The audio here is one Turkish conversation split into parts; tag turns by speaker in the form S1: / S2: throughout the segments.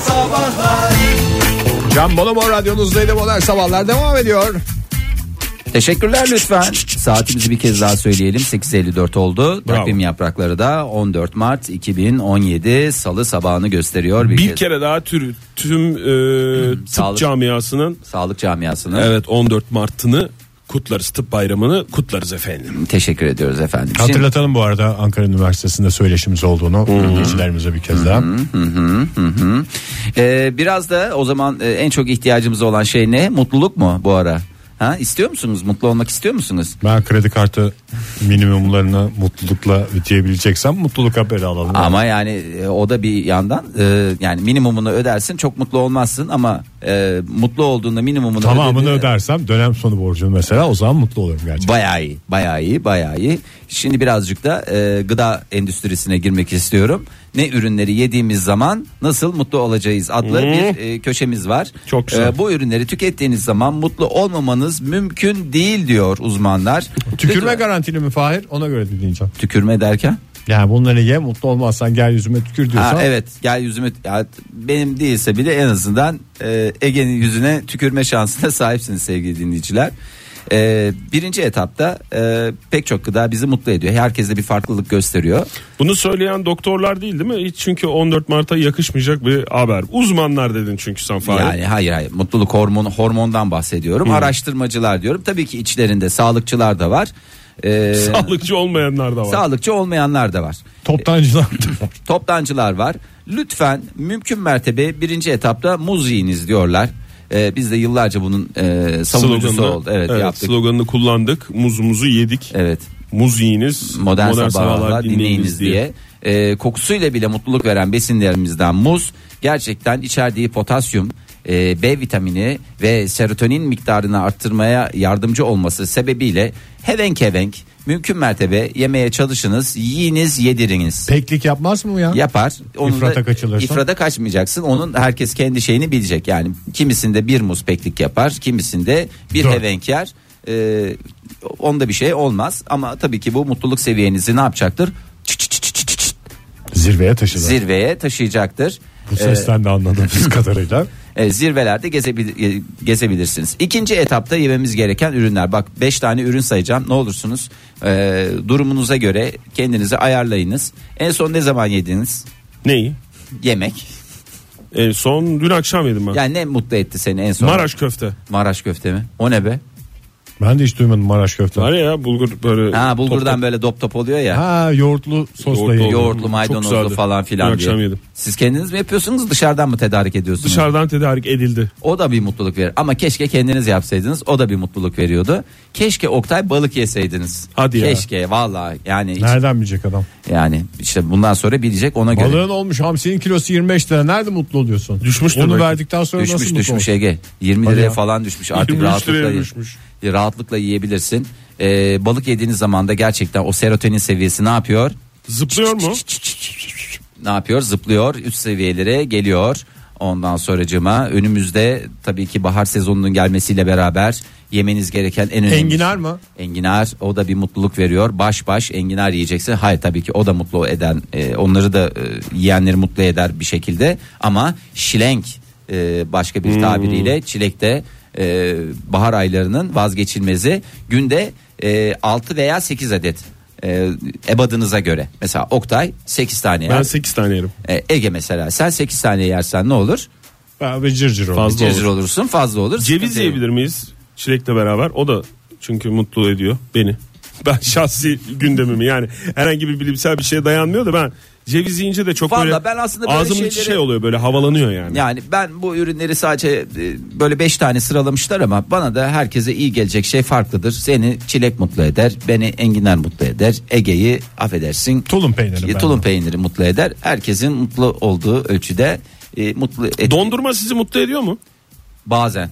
S1: Sabahlar
S2: Can Bonomo radyonuzdaydı modern sabahlar devam ediyor.
S3: Teşekkürler lütfen. Saatimizi bir kez daha söyleyelim. 8.54 oldu.
S4: Bravo.
S3: Takvim yaprakları da 14 Mart 2017 Salı sabahını gösteriyor. Bir,
S4: Bir
S3: kez.
S4: kere daha tür, tüm e, tıp
S3: Hmm, sağlık.
S4: camiasının
S3: Sağlık camiasına
S4: evet 14 Mart'ını kutlarız. Tıp bayramını kutlarız efendim.
S3: teşekkür ediyoruz efendim. Şimdi-
S5: Hatırlatalım bu arada Ankara Üniversitesi'nde söyleşimiz olduğunu dinleyicilerimize bir kez daha.
S3: Ee, biraz da o zaman e, en çok ihtiyacımız olan şey ne? Mutluluk mu bu ara? Ha, istiyor musunuz? Mutlu olmak istiyor musunuz?
S5: Ben kredi kartı minimumlarını mutlulukla ödeyebileceksem mutluluk haberi alalım.
S3: Ama yani e, o da bir yandan e, yani minimumunu ödersin çok mutlu olmazsın ama e, mutlu olduğunda minimumunu
S5: Tamamını
S3: ödediğinde-
S5: ödersem dönem sonu borcunu mesela o zaman mutlu olurum gerçekten.
S3: Bayağı iyi, bayağı iyi, bayağı iyi. Şimdi birazcık da e, gıda endüstrisine girmek istiyorum. Ne ürünleri yediğimiz zaman nasıl mutlu olacağız adlı bir e, köşemiz var. E,
S4: Çok güzel.
S3: bu ürünleri tükettiğiniz zaman mutlu olmamanız mümkün değil diyor uzmanlar.
S5: Tükürme
S3: Lütfen-
S5: garantili mi Fahir? Ona göre dinleyeceğim.
S3: tükürme derken?
S5: Yani bunları ye mutlu olmazsan gel yüzüme tükür diyorsan.
S3: Ha, evet gel yüzüme ya, benim değilse bile en azından e, Ege'nin yüzüne tükürme şansına sahipsiniz sevgili dinleyiciler. E, birinci etapta e, pek çok gıda bizi mutlu ediyor. Herkeste bir farklılık gösteriyor.
S4: Bunu söyleyen doktorlar değil değil mi? Hiç çünkü 14 Mart'a yakışmayacak bir haber. Uzmanlar dedin çünkü sen Fahir.
S3: Yani hayır hayır mutluluk hormonu hormondan bahsediyorum. Araştırmacılar diyorum. Tabii ki içlerinde sağlıkçılar da var. E,
S4: Sağlıkçı olmayanlar da var.
S3: sağlıkçı olmayanlar da var.
S5: Toptancılar.
S3: toptancılar var. Lütfen mümkün mertebe birinci etapta muz yiyiniz diyorlar. Ee, biz de yıllarca bunun e, savunucusu
S4: sloganını,
S3: oldu. Evet, yaptık.
S4: sloganını kullandık. Muzumuzu yedik.
S3: Evet.
S4: Muz yiyiniz.
S3: Modern, sabahlar dinleyiniz diye. Ee, kokusuyla bile mutluluk veren besinlerimizden muz gerçekten içerdiği potasyum, e, B vitamini ve serotonin miktarını arttırmaya yardımcı olması sebebiyle hevenk hevenk mümkün mertebe yemeye çalışınız, yiyiniz, yediriniz.
S5: Peklik yapmaz mı bu ya?
S3: yapar. Onu
S5: İfrata
S3: da-
S5: kaçılırsa?
S3: İfrata kaçmayacaksın. Onun herkes kendi şeyini bilecek. Yani kimisinde bir muz peklik yapar, kimisinde bir
S5: Dört.
S3: hevenk yer. Ee, onda bir şey olmaz ama tabii ki bu mutluluk seviyenizi ne yapacaktır? Çıt çıt çıt çıt çıt çıt
S5: Zirveye taşıdı.
S3: Zirveye taşıyacaktır.
S5: Bu sesten de anladığımız kadarıyla.
S3: Ee, e, zirvelerde gezebil- e, gezebilirsiniz. İkinci etapta yememiz gereken ürünler. Bak 5 tane ürün sayacağım. Ne olursunuz e, durumunuza göre kendinizi ayarlayınız. En son ne zaman yediniz?
S4: Neyi?
S3: Yemek.
S4: En son dün akşam yedim ben.
S3: Yani ne mutlu etti seni en son?
S4: Maraş köfte.
S3: Maraş köfte mi? O ne be?
S5: Ben de hiç duymadım Maraş köfte.
S4: Var ya bulgur böyle.
S3: Ha bulgurdan Hmm.
S4: top-
S3: böyle dop top oluyor ya.
S5: Ha yoğurtlu sosla
S4: Yoğurtlu
S5: yiyor.
S4: olur.
S3: Yoğurtlu
S4: Çok
S3: maydanozlu
S4: güzeldi.
S3: falan filan
S4: Dün
S3: diye.
S4: akşam yedim.
S3: Siz kendiniz mi yapıyorsunuz dışarıdan mı tedarik ediyorsunuz?
S4: Dışarıdan tedarik edildi.
S3: O da bir mutluluk verir. Ama keşke kendiniz yapsaydınız. O da bir mutluluk veriyordu. Keşke Oktay balık yeseydiniz.
S4: Hadi ya.
S3: Keşke vallahi yani hiç-
S5: Nereden bilecek adam?
S3: yani işte bundan sonra bilecek ona göre.
S5: Balığın olmuş hamsinin kilosu 25 lira. Nerede mutlu oluyorsun?
S4: Düşmüştür
S5: Onu
S4: belki.
S5: verdikten sonra nasıl
S3: düşmüş Şey-
S5: mutlu
S3: düşmüş
S5: olursun?
S3: Ege. 20
S5: Hadi
S3: liraya
S5: ya.
S3: falan düşmüş artık
S4: 23 liraya
S3: rahatlıkla,
S4: düşmüş.
S3: rahatlıkla yiyebilirsin. Ee, balık yediğiniz zaman da gerçekten o serotonin seviyesi ne yapıyor?
S4: Zıplıyor mu?
S3: ne yapıyor? Zıplıyor, üst seviyelere geliyor. Ondan sonracığıma önümüzde tabii ki bahar sezonunun gelmesiyle beraber yemeniz gereken en önemli şey-
S5: Enginar mı?
S3: Enginar o da bir mutluluk veriyor. Baş baş enginar yiyeceksin. Hayır tabii ki o da mutlu eden, e, onları da e, yiyenleri mutlu eder bir şekilde ama şilenk e, başka bir tabiriyle çilek de e, bahar aylarının vazgeçilmezi. Günde e, 6 veya 8 adet e, ebadınıza göre. Mesela Oktay 8 tane
S4: Ben
S3: yer.
S4: 8 tane yerim.
S3: E, Ege mesela sen 8 tane yersen ne olur?
S5: Ha, Ve cır cır olur.
S4: Fazla
S3: Cezir
S4: olur.
S3: olursun fazla olur.
S4: Ceviz
S3: Sıkıntı yok.
S4: yiyebilir miyiz? Çilekle beraber. O da çünkü mutlu ediyor beni. Ben şahsi gündemimi yani herhangi bir bilimsel bir şeye dayanmıyor da ben ceviz yiyince de çok
S3: Vallahi
S4: böyle,
S3: ben aslında böyle
S4: ağzımın içi
S3: şeyleri-
S4: şey oluyor böyle havalanıyor yani.
S3: Yani ben bu ürünleri sadece e, böyle 5 tane sıralamışlar ama bana da herkese iyi gelecek şey farklıdır. Seni çilek mutlu eder, beni enginar mutlu eder, Ege'yi affedersin.
S5: Tulum peyniri ben de.
S3: Tulum peyniri mutlu eder. Herkesin mutlu olduğu ölçüde e, mutlu et.
S4: Dondurma sizi mutlu ediyor mu?
S3: Bazen.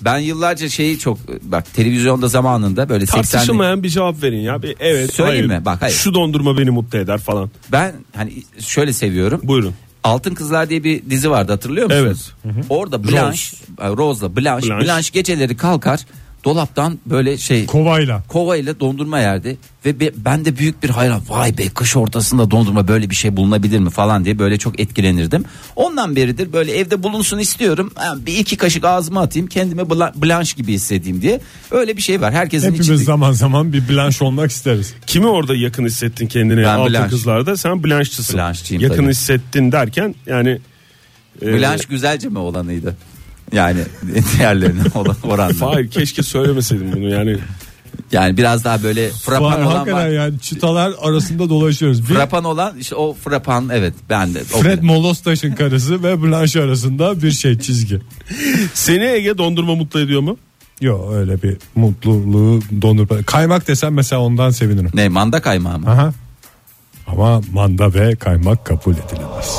S3: Ben yıllarca şeyi çok e, bak televizyonda zamanında böyle 80'li
S4: Tartışılmayan bir cevap verin ya. Bir evet,
S3: Söyleyeyim
S4: hayır.
S3: mi? Bak, hayır.
S4: Şu dondurma beni mutlu eder falan.
S3: Ben hani şöyle seviyorum.
S4: Buyurun.
S3: Altın Kızlar diye bir dizi vardı hatırlıyor musunuz? Evet. Orada Blanche, e, Rose'la Blanche,
S4: Blanche.
S3: Blanche. geceleri kalkar dolaptan böyle şey
S5: Kovayla.
S3: kova ile dondurma yerdi ve be- ben de büyük bir hayran vay be kış ortasında dondurma böyle bir şey bulunabilir mi falan diye böyle çok etkilenirdim. Ondan beridir böyle evde bulunsun istiyorum Ha, bir iki kaşık ağzıma atayım kendime bla- blanche gibi hissedeyim diye öyle bir şey var herkesin
S5: Hepimiz
S3: içinde.
S5: zaman zaman bir blanş olmak isteriz.
S4: Kimi orada yakın hissettin kendini
S3: Ben
S4: altın
S3: Blanche.
S4: kızlarda? Sen Blanche'çısın.
S3: Blanche'çıyım
S4: yakın
S3: tabii.
S4: hissettin derken yani e,
S3: Blanche güzelce mi olanıydı? Yani diğerlerine olan oranla.
S4: Hayır keşke söylemeseydim bunu yani.
S3: Yani biraz daha böyle
S5: Var,
S3: frapan olan
S5: hakikaten
S3: var.
S5: yani çıtalar arasında dolaşıyoruz. Bir
S3: Frapan olan işte o frapan evet ben de. o
S5: Fred
S3: bile.
S5: Molostaş'ın karısı ve Blanche arasında bir şey çizgi.
S4: Seni Ege dondurma mutlu ediyor mu?
S5: Yo öyle bir mutluluğu dondurma. Kaymak desem mesela ondan sevinirim.
S3: Ne manda kaymağı mı?
S5: Aha. Ama manda ve kaymak kabul edilemez.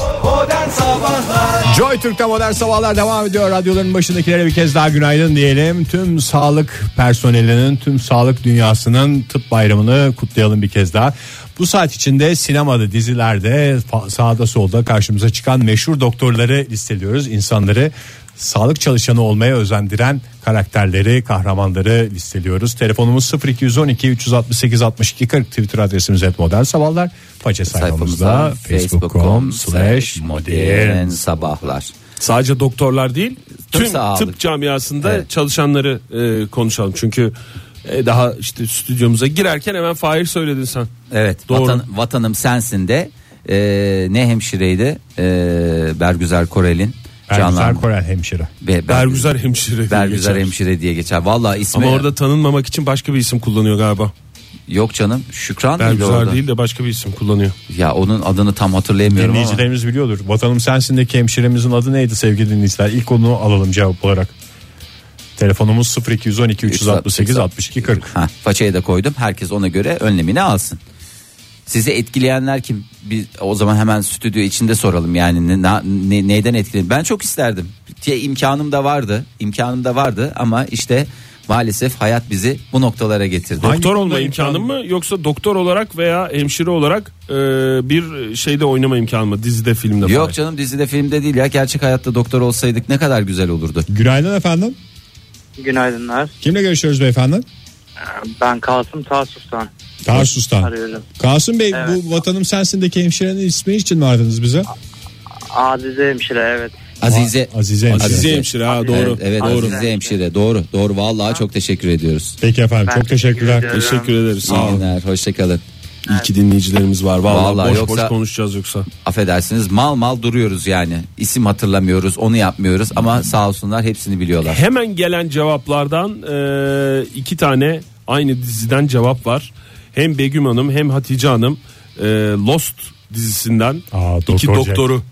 S2: Joy Türk'te modern sabahlar devam ediyor. Radyoların başındakilere bir kez daha günaydın diyelim. Tüm sağlık personelinin, tüm sağlık dünyasının tıp bayramını kutlayalım bir kez daha. Bu saat içinde sinemada, dizilerde, fa- sağda solda karşımıza çıkan meşhur doktorları listeliyoruz. İnsanları sağlık çalışanı olmaya özendiren karakterleri, kahramanları listeliyoruz. Telefonumuz 0212 368 62 40 Twitter adresimiz et modern sabahlar. Faça sayfamızda
S3: Sayfamızda
S2: facebook.com slash modern
S3: modern sabahlar.
S4: Sadece doktorlar değil
S3: Tıp
S4: tüm
S3: sağlığı.
S4: tıp camiasında
S3: Evet.
S4: çalışanları e, konuşalım. Çünkü e, daha işte stüdyomuza girerken hemen Fahir söyledin sen.
S3: Evet
S4: Doğru.
S3: vatan- vatanım sensin de e, ne hemşireydi e, Bergüzar Korel'in
S5: Bergüzar
S3: canlandı.
S5: Korel hemşire.
S3: Be-
S4: Bergüzar hemşire.
S3: Bergüzar
S4: Geçer.
S3: hemşire diye geçer. Vallahi ismi
S4: Ama orada tanınmamak için başka bir isim kullanıyor galiba.
S3: yok canım. Şükran mıydı orada?
S4: Bergüzar değil de başka bir isim kullanıyor.
S3: Ya onun adını tam hatırlayamıyorum ama.
S5: Dinleyicilerimiz biliyordur. Vatanım sensindeki hemşiremizin adı neydi sevgili dinleyiciler? İlk onu alalım cevap olarak. Telefonumuz 0212 368 62 40.
S3: Ha, façaya da koydum. Herkes ona göre önlemini alsın. Sizi etkileyenler kim? Biz o zaman hemen stüdyo içinde soralım yani ne, na- ne- neyden etkilen? Ben çok isterdim. Diye imkanım da vardı. İmkanım da vardı ama işte maalesef hayat bizi bu noktalara getirdi.
S5: Hangi
S4: Doktor
S5: konuda
S4: olma imkanı mı yoksa doktor olarak veya hemşire olarak e, bir şeyde oynama imkanı mı dizide filmde
S3: Yok
S4: falan?
S3: canım dizide filmde değil ya gerçek hayatta doktor olsaydık ne kadar güzel olurdu.
S5: Günaydın efendim.
S1: Günaydınlar.
S5: Kimle görüşüyoruz beyefendi?
S1: Ben Kasım Tarsus'tan
S5: Tarsus'tan.
S1: arıyorum.
S5: Kasım Bey
S1: Evet.
S5: bu vatanım sensindeki hemşirenin ismi için mi aradınız bize?
S1: Azize hemşire evet.
S3: Azize.
S5: Azize hemşire.
S4: Azize hemşire ha doğru.
S3: Evet, evet
S4: doğru.
S3: Azize hemşire doğru. Doğru vallahi çok teşekkür ediyoruz.
S5: Peki efendim
S1: Ben
S5: çok teşekkürler.
S1: teşekkür ediyorum.
S4: Teşekkür ederiz. Sağ
S3: İyi
S4: olun.
S3: günler hoşçakalın.
S4: İyi ki dinleyicilerimiz var. Vallahi,
S3: Vallahi
S4: boş
S3: yoksa-
S4: boş konuşacağız yoksa.
S3: affedersiniz mal mal duruyoruz yani. İsim hatırlamıyoruz, onu yapmıyoruz ama sağ olsunlar hepsini biliyorlar.
S4: Hemen gelen cevaplardan e, iki tane aynı diziden cevap var. Hem Begüm Hanım hem Hatice Hanım e, Lost dizisinden
S5: Aa,
S4: iki
S5: Doktor Jack.
S4: doktoru.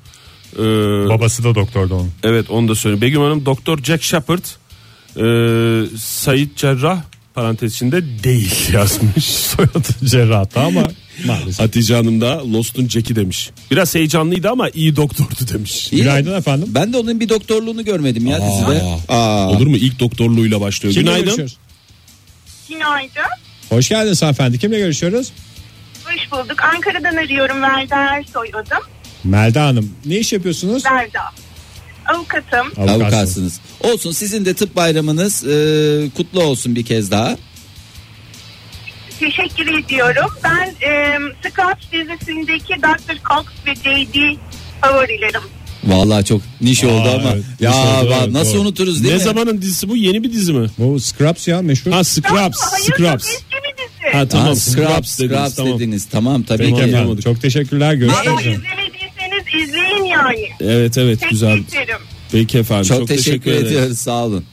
S4: e,
S5: Babası da doktordu onun.
S4: evet onu da söyleyeyim. Begüm Hanım Doktor Jack Shepard e, Sayit Cerrah parantez içinde değil yazmış.
S5: Soyadı cerrahta ama maalesef.
S4: Hatice Hanım da Lost'un Jack'i demiş. Biraz heyecanlıydı ama iyi doktordu demiş.
S3: İyi.
S5: Günaydın efendim.
S3: Ben de onun bir doktorluğunu görmedim ya dizide.
S4: Olur mu? İlk doktorluğuyla başlıyor.
S5: Kimle
S4: Günaydın.
S5: görüşüyoruz?
S6: Günaydın.
S5: Hoş geldiniz hanımefendi. Kimle görüşüyoruz?
S6: Hoş bulduk. Ankara'dan arıyorum. Verda Ersoy adım.
S5: Melda Hanım. Ne iş yapıyorsunuz?
S6: Verda. Avukatım.
S5: Avukatsınız.
S3: Avukatsınız. Olsun sizin de tıp bayramınız e, kutlu olsun bir kez daha.
S6: Teşekkür ediyorum. Ben e, Scott dizisindeki Dr. Cox ve J.D. favorilerim.
S3: Vallahi çok niş
S5: Aa,
S3: oldu ama
S5: evet,
S3: ya
S5: niş oldu,
S3: va-
S5: evet,
S3: nasıl
S5: doğru.
S3: unuturuz değil
S4: Ne
S3: mi?
S4: zamanın dizisi bu? Yeni bir dizi mi?
S5: Bu Scrubs ya meşhur.
S4: Ha Scrubs.
S6: Hayır,
S4: Scrubs.
S6: eski bir dizi.
S4: Ha
S3: Ha,
S4: tamam.
S3: Scrubs, Scrubs dediniz,
S4: dediniz, tamam.
S3: tamam tabii
S5: Peki
S3: ki.
S5: efendim. Çok teşekkürler.
S6: Ama
S5: Görüşürüz.
S6: izlemediyseniz izleyin yani.
S4: Evet evet
S6: Tek
S4: güzel.
S6: isterim.
S4: Peki efendim.
S3: Çok, teşekkür,
S4: ederiz.
S3: ediyoruz sağ olun.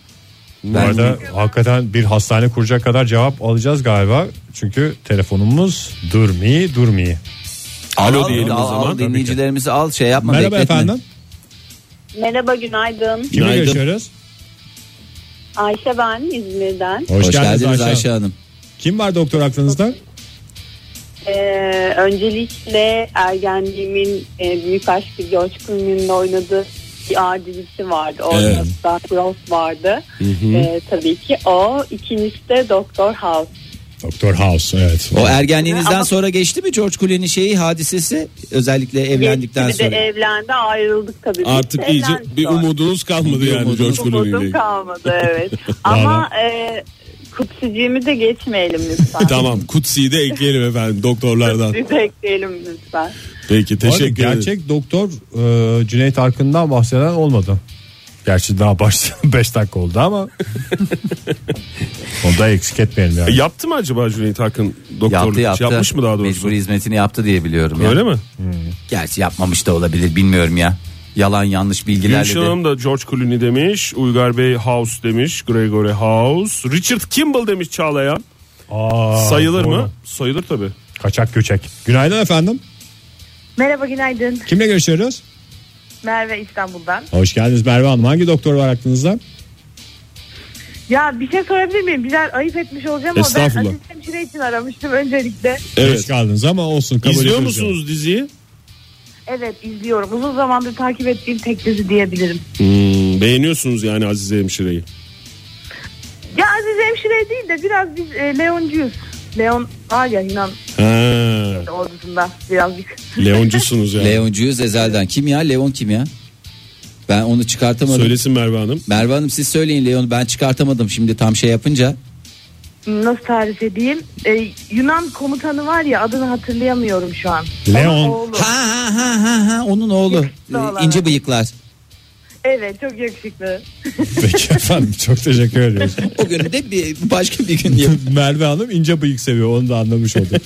S5: Bu arada hakikaten bir hastane kuracak kadar cevap alacağız galiba. Çünkü telefonumuz durmuyor durmuyor.
S4: Alo
S3: Al,
S4: diyelim
S3: al,
S4: o
S3: al,
S4: zaman.
S3: dinleyicilerimizi al şey yapma
S5: Merhaba
S3: bekletme.
S5: efendim.
S7: Merhaba günaydın.
S5: Kimle
S4: Günaydın.
S5: görüşüyoruz?
S7: Ayşe ben İzmir'den.
S5: Hoş,
S3: Hoş, geldiniz, Ayşe,
S5: Hanım.
S3: Hanım.
S5: Kim var doktor aklınızda?
S7: Ee, öncelikle ergenliğimin e, büyük aşkı Coşkun Ünlü'nün oynadığı bir ağır dizisi vardı. Orada
S4: Evet.
S7: Dark Rose vardı. Ee, tabii ki o. İkincisi de Doktor House.
S5: Doktor House evet.
S3: O ergenliğinizden sonra geçti mi George Clooney'nin şeyi hadisesi özellikle evlendikten
S7: Geçti, bir
S3: sonra.
S7: de e, evlendi ayrıldık tabii.
S4: Artık
S7: Biz de
S4: iyice
S7: evlendik
S4: bir
S7: sonra.
S4: umudunuz kalmadı
S3: Bir
S4: yani
S3: umudunuz-
S4: George Clooney'le.
S7: Umudum
S4: ilgili.
S7: kalmadı evet. Ama e, Kutsiciğimi de geçmeyelim lütfen.
S4: Tamam Kutsi'yi de ekleyelim efendim doktorlardan.
S7: Biz ekleyelim lütfen.
S4: Peki
S5: Bu arada
S4: teşekkür ederim.
S5: Gerçek doktor e, Cüneyt Arkın'dan bahseden olmadı. Gerçi daha baş 5 dakika oldu ama. Onu da eksik etmeyelim yani.
S4: E, Yaptı mı acaba Cüneyt Akın doktorluk? şey
S3: Yaptı yaptı.
S4: Yapmış mı daha doğrusu?
S3: Mecbur hizmetini yaptı diye biliyorum. ya.
S4: Öyle mi?
S3: Gerçi yapmamış da olabilir bilmiyorum ya. Yalan yanlış bilgilerle
S4: Gülşen
S3: de.
S4: Hanım da George Clooney demiş. Uygar Bey House demiş. Gregory House. Richard Kimball demiş Çağlayan.
S5: Aa,
S4: Sayılır
S5: doğru.
S4: mı? Sayılır tabii.
S5: Kaçak göçek. Günaydın efendim.
S8: Merhaba günaydın.
S5: Kimle görüşüyoruz?
S8: Merve İstanbul'dan.
S5: Hoş geldiniz Merve Hanım. Hangi doktor var aklınızda?
S8: Ya bir şey sorabilir miyim? Biraz ayıp etmiş olacağım ama ben
S5: Estağfurullah.
S8: asistan hemşire için aramıştım öncelikle.
S4: Evet.
S5: Hoş geldiniz ama olsun. Kabul
S4: İzliyor
S5: ediyoruz
S4: musunuz diziyi?
S8: Evet izliyorum. Uzun zamandır takip ettiğim tek dizi diyebilirim.
S4: Hmm, beğeniyorsunuz yani Azize Hemşire'yi.
S8: Ya Aziz hemşire değil de biraz biz e, Leoncuyuz. Leon var ya Yunan
S4: Ha,
S8: ordusunda birazcık.
S4: Leoncusunuz yani.
S3: Leoncuyuz ezelden. Kim ya? Leon kim ya? Ben onu çıkartamadım.
S4: Söylesin Merve Hanım.
S3: Merve Hanım siz söyleyin Leon'u ben çıkartamadım şimdi tam şey yapınca.
S8: Nasıl tarif edeyim? E, Yunan komutanı var ya adını hatırlayamıyorum şu an.
S5: yani.
S8: Onun
S5: Leon.
S8: oğlu.
S3: Ha ha ha ha ha onun oğlu.
S8: Yakışıklı olan.
S3: ince bıyıklar.
S8: Evet çok yakışıklı.
S5: Peki efendim çok teşekkür ediyoruz.
S3: O günü de bir, başka bir gün yap-
S5: Merve Hanım ince bıyık seviyor onu da anlamış olduk.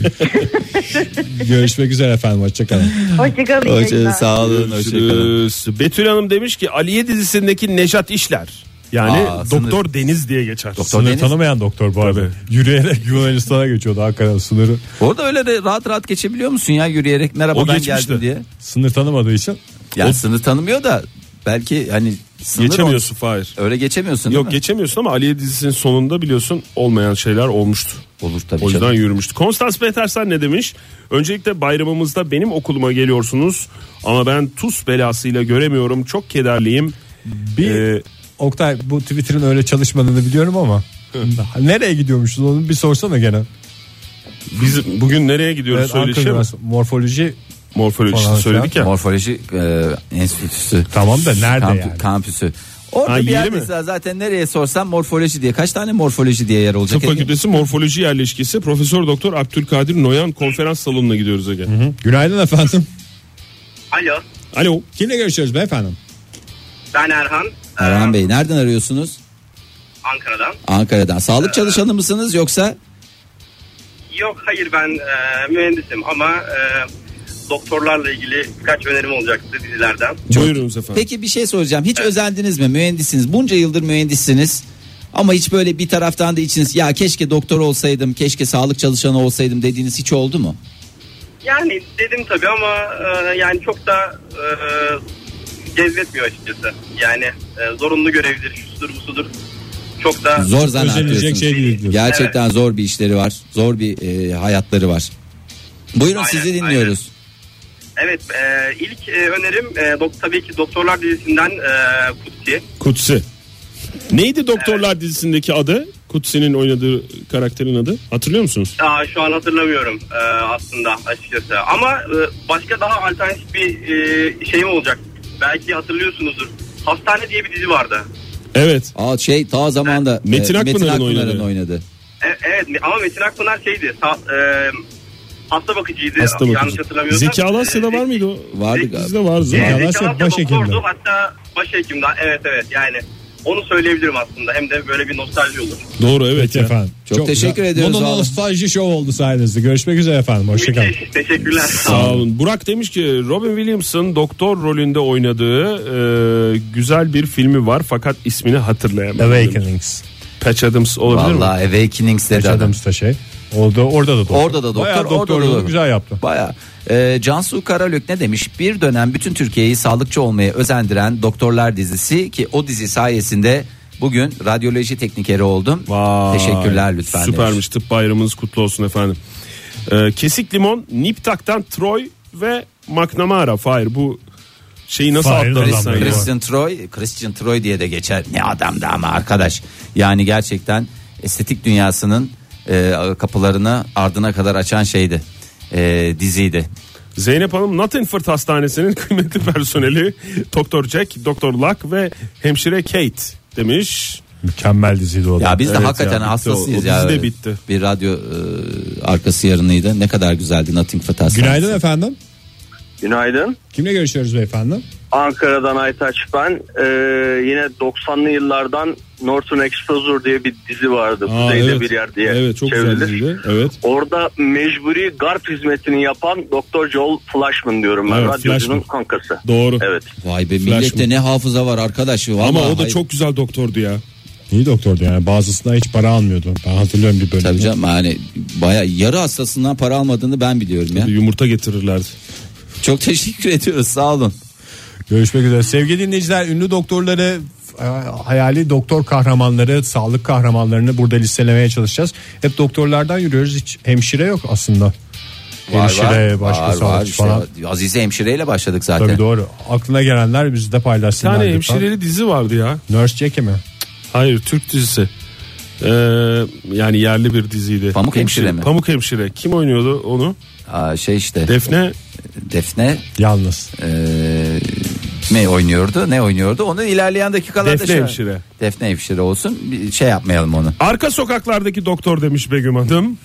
S5: Görüşmek üzere efendim hoşçakalın.
S8: Hoşçakalın. iyi
S3: Hoşça-
S8: yayınlar.
S3: Sağ olun. Hoşçakalın.
S4: Ee, Betül Hanım demiş ki Aliye dizisindeki Neşat İşler. Yani
S3: Aa,
S4: Doktor Deniz diye geçer.
S3: Doktor
S5: Sınır
S3: Deniz.
S5: tanımayan doktor bu arada. Yürüyerek Yunanistan'a geçiyordu Ankara sınırı.
S3: Orada öyle de rahat rahat geçebiliyor musun ya yürüyerek
S5: O
S3: merhaba ben
S5: geçmişti.
S3: geldim diye.
S5: Sınır tanımadığı için
S3: Ya sınır tanımıyor da belki hani sınır
S4: Geçemiyorsun Fahir.
S3: o- Öyle geçemiyorsun
S4: Yok
S3: değil mi?
S4: geçemiyorsun ama Aliye dizisinin sonunda biliyorsun olmayan şeyler olmuştu.
S3: Olur tabii
S4: O yüzden
S3: canım.
S4: yürümüştü. Konstans Petersen ne demiş? Öncelikle bayramımızda benim okuluma geliyorsunuz ama ben tuz belasıyla göremiyorum. Çok kederliyim.
S5: bir
S4: Ee,
S5: Oktay bu Twitter'ın öyle çalışmadığını biliyorum ama nereye gidiyormuşuz onu bir sorsana gene.
S4: biz bugün nereye gidiyoruz
S5: Evet, Ankara
S4: söyleşe mi?
S5: Üniversitesi morfoloji
S4: Morfolojisi
S5: Falan
S4: söyledik ya.
S3: Morfoloji e, enstitüsü.
S5: tamam da nerede
S3: Kampü-
S5: yani?
S3: Kampüsü. Orada
S4: Ha,
S3: bir
S4: yeri
S3: yer
S4: mi?
S3: mesela zaten nereye sorsam morfoloji diye. Kaç tane morfoloji diye yer olacak?
S4: Tıp Fakültesi Morfoloji Yerleşkesi Profesör Doktor Abdülkadir Noyan konferans salonuna gidiyoruz Ege.
S5: Günaydın efendim.
S9: Alo
S4: Alo.
S5: Kimle görüşüyoruz beyefendi?
S9: ben Erhan Ee,
S3: Erhan Bey nereden arıyorsunuz?
S9: Ankara'dan.
S3: Ankara'dan.
S4: Ee,
S3: Sağlık çalışanı mısınız yoksa?
S9: Yok hayır ben e, mühendisim ama e, doktorlarla ilgili birkaç önerim olacaktı dizilerden.
S4: Buyurunuz efendim.
S3: Peki bir şey soracağım. Hiç özendiniz mi? Mühendissiniz. Bunca yıldır mühendissiniz. Ama hiç böyle bir taraftan da içiniz ya keşke doktor olsaydım, keşke sağlık çalışanı olsaydım dediğiniz hiç oldu mu?
S9: Yani dedim tabii ama e, yani çok da e, cezbetmiyor açıkçası. Yani e, zorunlu görevdir, şusudur busudur. Çok da
S3: Zor zanaat
S5: Özenilecek
S3: diyorsunuz.
S5: şey değil diyorsun.
S3: Gerçekten zor bir işleri var. Zor bir e, hayatları var. Buyurun
S9: Aynen,
S3: sizi dinliyoruz.
S9: Evet e, ilk e, önerim e, dok- tabii ki Doktorlar dizisinden e, Kutsi.
S4: Kutsi. Neydi Doktorlar dizisindeki adı? Kutsi'nin oynadığı karakterin adı. Hatırlıyor musunuz?
S9: Aa, şu an hatırlamıyorum e, aslında açıkçası. Ama e, başka daha alternatif bir e, şeyim olacak. Belki hatırlıyorsunuzdur. Hastane diye bir dizi vardı.
S4: Evet.
S3: Aa, şey ta zamanda e,
S4: Metin Akpınar'ın oynadı.
S3: oynadı.
S9: E, evet ama Metin Akpınar şeydi. sa- e, hasta bakıcıydı.
S4: Hasta
S9: Yanlış
S4: bakıcı.
S9: hatırlamıyorsam.
S4: Zeki Alasya'da var mıydı o?
S3: Vardı
S9: Zeki-
S3: galiba.
S4: Bizde var
S9: E,
S4: zaten.
S5: Zeki
S9: Zeki
S5: Alasya
S9: Alasya
S5: başhekimdi.
S9: doktordu hatta başhekimdi. Evet evet yani. Onu söyleyebilirim aslında. Hem de böyle bir nostalji olur.
S4: Doğru evet.
S5: Peki
S4: ya.
S5: efendim.
S3: Çok teşekkür ediyoruz,
S5: Bunun
S3: sağ olun.
S5: nostalji şov oldu sayenizde. Görüşmek üzere efendim. Hoşçakalın.
S9: Müthiş. Teşekkürler.
S4: Sağ olun. Burak demiş ki Robin Williams'ın doktor rolünde oynadığı e, güzel bir filmi var fakat ismini hatırlayamıyorum. demiş.
S5: Awakenings.
S4: Patch Adams olabilir mi?
S3: Vallahi Awakenings dedi adam.
S5: Adamız da şey. Oldu, orada da doktor.
S3: Orada da doktor,
S5: Bayağı
S3: orada da
S5: doktorluğunu
S3: doktor.
S5: güzel yaptı.
S3: Baya. Ee, Cansu Karalök ne demiş? Bir dönem bütün Türkiye'yi sağlıkçı olmaya özendiren Doktorlar dizisi ki o dizi sayesinde bugün radyoloji teknikeri oldum.
S4: Vay,
S3: Teşekkürler lütfen.
S4: Süpermiş.
S3: demiş.
S4: Tıp bayramınız kutlu olsun efendim. E, kesik limon, Niptak'tan Troy ve McNamara. Fahir bu şeyi nasıl
S5: Fahir
S4: atladın
S5: adam
S4: sen
S5: böyle.
S4: ya?
S3: Christian Troy, Christian Troy diye de geçer. Ne adamdı ama arkadaş. Yani gerçekten estetik dünyasının e, kapılarını ardına kadar açan şeydi. E, diziydi.
S4: Zeynep Hanım Nottingford Hastanesi'nin kıymetli personeli Doktor Jack, Doktor Luck ve hemşire Kate demiş.
S5: Mükemmel diziydi o da.
S3: Ya biz de
S5: Evet
S3: hakikaten
S5: ya.
S3: hastasıyız
S4: o. O
S3: ya.
S4: dizi de bitti.
S3: Bir radyo e, arkası yarınıydı. Ne kadar güzeldi Nothing But Us.
S5: Günaydın efendim.
S9: Günaydın.
S5: Kimle görüşüyoruz beyefendi?
S9: Ankara'dan Aytaç ben. Ee, yine 90'lı yıllardan Norton Exposure diye bir dizi vardı.
S4: Aa,
S9: Kuzeyde
S4: evet.
S9: bir yer diye
S4: Evet çok
S9: çevrilir.
S4: güzel diziydi. Evet.
S9: Orada mecburi garp hizmetini yapan Doktor Joel Flashman diyorum ben.
S4: Evet,
S9: Radyocunun
S4: Flashman.
S9: kankası.
S4: Doğru.
S9: Evet.
S3: Vay be
S4: Flash
S3: millette ne hafıza var arkadaş. Vallahi
S4: Ama o da
S3: hayır.
S4: çok güzel doktordu ya.
S5: İyi doktordu yani bazısına hiç para almıyordu. Ben hatırlıyorum bir
S3: Tabii
S5: bölümü.
S3: canım yani baya yarı hastasından para almadığını ben biliyorum ya.
S4: Yumurta getirirlerdi.
S3: Çok teşekkür ediyoruz sağ olun.
S5: Görüşmek üzere. Sevgili dinleyiciler ünlü doktorları e, hayali doktor kahramanları, sağlık kahramanlarını burada listelemeye çalışacağız. Hep doktorlardan yürüyoruz. Hiç hemşire yok aslında. Hemşire, başka
S3: var, var
S5: sağlıkçı
S3: işte.
S5: falan.
S3: Azize hemşireyle başladık
S5: Tabii
S3: zaten.
S5: doğru. Aklına gelenler bizi de
S4: Bir
S5: paylaşsınlar.
S4: tane
S5: lütfen.
S4: hemşireli dizi vardı ya.
S5: Nurse Jackie mi?
S4: Hayır Türk dizisi. Ee, yani yerli bir diziydi.
S3: Pamuk Hemşire mi?
S4: Pamuk Hemşire. Kim oynuyordu onu?
S3: Aa, şey işte
S4: Defne.
S3: Defne
S5: Yalnız.
S3: Ee, ne oynuyordu ne oynuyordu onu ilerleyen dakikalarda
S4: Defne
S3: şey-
S4: hemşire.
S3: Defne hemşire olsun bir şey yapmayalım onu.
S4: Arka sokaklardaki doktor demiş Begüm Hanım.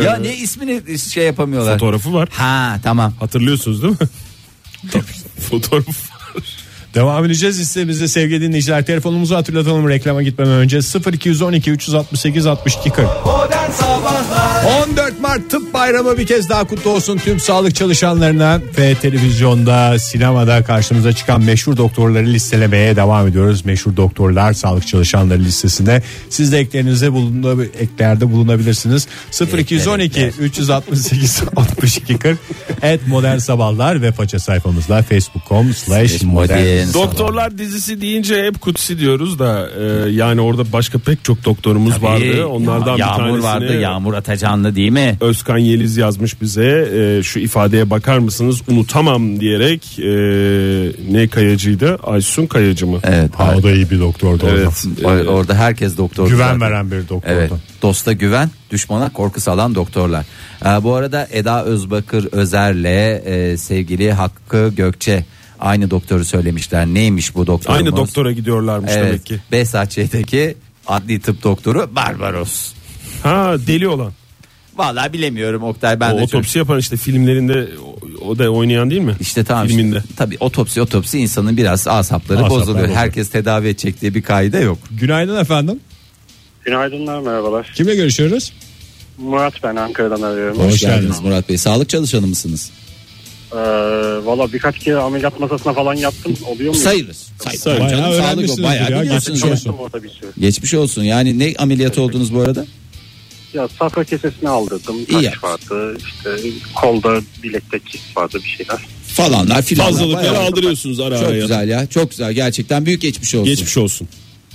S4: Ee,
S3: Ya ne ismini şey yapamıyorlar.
S4: Fotoğrafı var.
S3: Ha tamam.
S4: Hatırlıyorsunuz değil mi? Fotoğraf var.
S5: Devam edeceğiz listemize sevgili dinleyiciler. Telefonumuzu hatırlatalım reklama gitmeden önce. 0212 368 62 40. 14 Mart Tıp Bayramı bir kez daha kutlu olsun tüm sağlık çalışanlarına ve televizyonda, sinemada karşımıza çıkan meşhur doktorları listelemeye devam ediyoruz. Meşhur doktorlar sağlık çalışanları listesinde. Siz de eklerinize bulundu, eklerde bulunabilirsiniz. 0212 368 62 40 et modern sabahlar ve faça sayfamızda facebook.com slash modern
S4: Doktorlar dizisi deyince hep kutsi diyoruz da e, yani orada başka pek çok doktorumuz vardı. Onlardan
S3: yağmur
S4: bir tanesini
S3: vardı Yağmur Atacanlı değil mi?
S4: Özkan Yeliz yazmış bize e, şu ifadeye bakar mısınız unutamam diyerek e, ne kayacıydı Aysun Kayacı mı?
S3: Evet.
S5: Ha, o da iyi bir doktordu orada.
S4: Evet.
S3: O- Orada herkes doktor.
S5: Güven
S3: zaten.
S5: veren bir doktordu.
S3: Evet. Dosta güven, düşmana korku salan doktorlar. Ee, bu arada Eda Özbakır Özer'le e, sevgili Hakkı Gökçe aynı doktoru söylemişler. Neymiş bu doktorumuz?
S4: Aynı doktora gidiyorlarmış demek ki.
S3: Behzatçı'daki adli tıp doktoru Barbaros.
S4: Ha deli olan.
S3: Vallahi bilemiyorum Oktay ben
S4: o
S3: de.
S4: otopsi
S3: çok-
S4: yapan işte filmlerinde o, o da oynayan değil mi?
S3: İşte tamam. işte.
S4: Filminde.
S3: Tabii otopsi otopsi insanın biraz asapları
S5: Asaplar
S3: bozuluyor.
S5: bozuluyor.
S3: Herkes tedavi edecek diye bir kaide yok.
S5: Günaydın efendim.
S1: Günaydınlar merhabalar.
S5: Kimle görüşüyoruz?
S1: Murat ben Ankara'dan arıyorum.
S5: Hoş geldiniz.
S3: Murat Bey. Sağlık çalışanı mısınız?
S1: Ee, Valla birkaç kere ameliyat masasına falan yattım. Oluyor mu?
S3: Sayılırız. Sayılırız.
S5: Sayılır.
S3: Canım,
S5: Bayağı
S3: sağlık o,
S5: öğrenmişsinizdir
S3: bayağı
S5: ya,
S3: biliyorsunuz
S5: geçmiş
S3: ya.
S5: olsun.
S1: orada bir sürü.
S3: Geçmiş olsun. Yani ne ameliyat oldunuz bu arada?
S1: Ya safra kesesini aldırdım.
S3: İyi
S1: Taş
S3: yaptın.
S1: vardı. İşte kolda bilekte kist vardı bir şeyler.
S3: Falanlar filanlar.
S4: Fazlalıkları
S3: Bayağı-
S4: aldırıyorsunuz ara
S3: Çok
S4: ara. ya.
S3: güzel ya. Çok güzel. Gerçekten büyük geçmiş olsun.
S4: Geçmiş olsun.